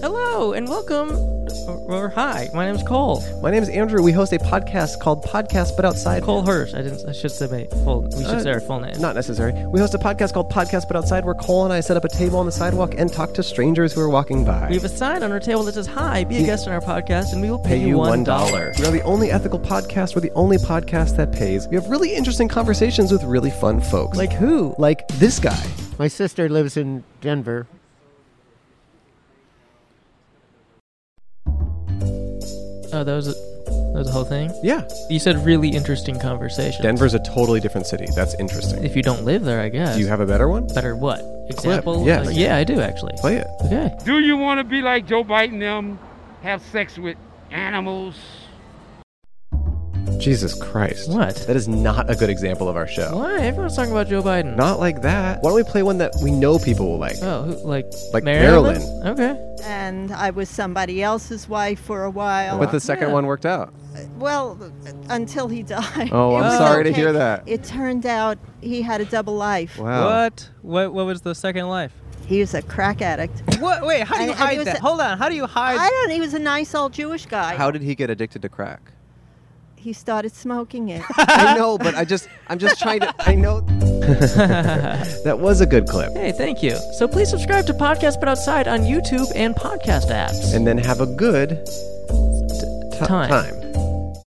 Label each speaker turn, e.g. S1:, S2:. S1: Hello and welcome, or, or hi. My name's Cole.
S2: My name is Andrew. We host a podcast called Podcast But Outside.
S1: Cole Hirsch. I didn't. I should say my full. We should
S2: Uh,
S1: say our full name.
S2: Not necessary. We host a podcast called Podcast But Outside where Cole and I set up a table on the sidewalk and talk to strangers who are walking by.
S1: we have a sign on our table that says "Hi, be a guest on our podcast, and we will pay, you one dollar."
S2: We are the only ethical podcast. We're the only podcast that pays. We have really interesting conversations with really fun folks.
S1: Like who?
S2: like this guy.
S3: My sister lives in Denver.
S1: Oh, that was a, that was the whole thing.
S2: Yeah.
S1: You said really interesting conversation.
S2: Denver's a totally different city. That's interesting.
S1: If you don't live there, I guess.
S2: Do you have a better one?
S1: better what example?
S2: yes.
S1: Uh, yeah, I do actually.
S2: Play it.
S1: Okay.
S4: Do you want to be like Joe Biden them? Have sex with animals?
S2: Jesus Christ.
S1: What?
S2: That is not a good example of our show.
S1: Why everyone's talking about Joe Biden?
S2: Not like that. Why don't we play one that we know people will like?
S1: Oh, who, like
S2: Like
S1: Maryland?
S2: Marilyn.
S1: Okay.
S5: and I was somebody else's wife for a while.
S2: But the second
S1: Yeah.
S2: one worked out.
S5: well, until he died.
S2: Oh,
S5: It
S2: I'm
S5: was
S2: sorry to hear that.
S5: It turned out he had a double life.
S2: Wow.
S1: What? What? What was the second life?
S5: He was a crack addict.
S1: What? Wait. How do
S5: And-
S1: you
S5: and
S1: hide
S5: it was
S1: that?
S5: a-
S1: Hold on. How do you hide?
S5: I don't. He was a nice old Jewish guy.
S2: How did he get addicted to crack?
S5: he started smoking it.
S2: I know, but I just I'm just trying to I know That was a good clip.
S1: Hey, thank you. So please subscribe to Podcast But Outside on YouTube and podcast apps.
S2: And then have a good t-
S1: Time.
S2: time.